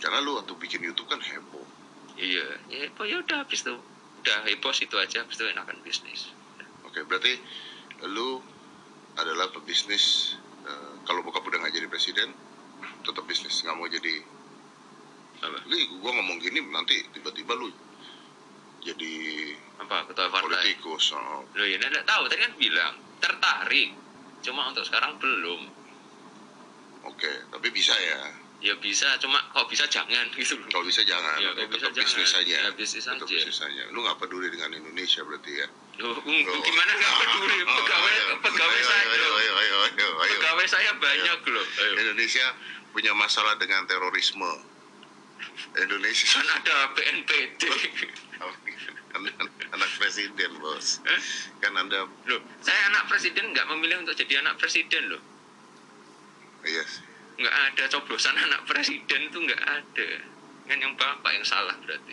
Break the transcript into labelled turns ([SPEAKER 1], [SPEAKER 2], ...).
[SPEAKER 1] Karena lu waktu bikin YouTube kan heboh.
[SPEAKER 2] iya ya heboh ya udah habis itu udah heboh situ aja habis itu enakan bisnis
[SPEAKER 1] Oke, berarti lu adalah pebisnis. eh, kalau bokap udah nggak jadi presiden, tetap bisnis. Nggak mau jadi.
[SPEAKER 2] apa
[SPEAKER 1] Ini gua ngomong gini nanti tiba-tiba lu jadi
[SPEAKER 2] apa ketua partai
[SPEAKER 1] politikus. oh.
[SPEAKER 2] lo ya nggak tahu tadi kan bilang tertarik cuma untuk sekarang belum
[SPEAKER 1] Oke, tapi bisa ya.
[SPEAKER 2] ya bisa cuma kalau bisa jangan gitu loh
[SPEAKER 1] Kalau bisa jangan.
[SPEAKER 2] Ya, kalau bisa
[SPEAKER 1] tetap bisnis
[SPEAKER 2] jangan.
[SPEAKER 1] saja.
[SPEAKER 2] Ya, bisnis
[SPEAKER 1] tetap
[SPEAKER 2] aja.
[SPEAKER 1] bisnis saja. Lu nggak peduli dengan Indonesia berarti ya.
[SPEAKER 2] Loh, um, gimana nggak peduli
[SPEAKER 1] Oh,
[SPEAKER 2] pegawai
[SPEAKER 1] ayo.
[SPEAKER 2] pegawai
[SPEAKER 1] Ayo,
[SPEAKER 2] saya
[SPEAKER 1] ayo, ayo,
[SPEAKER 2] loh.
[SPEAKER 1] ayo, ayo, ayo.
[SPEAKER 2] pegawai saya banyak loh Ayo.
[SPEAKER 1] Indonesia punya masalah dengan terorisme. Indonesia
[SPEAKER 2] kan ada BNPT
[SPEAKER 1] Anda anak presiden bos,
[SPEAKER 2] Eh?
[SPEAKER 1] kan anda
[SPEAKER 2] loh saya anak presiden nggak memilih untuk jadi anak presiden loh
[SPEAKER 1] yes.
[SPEAKER 2] nggak ada coblosan anak presiden tuh nggak ada kan yang bapak yang salah berarti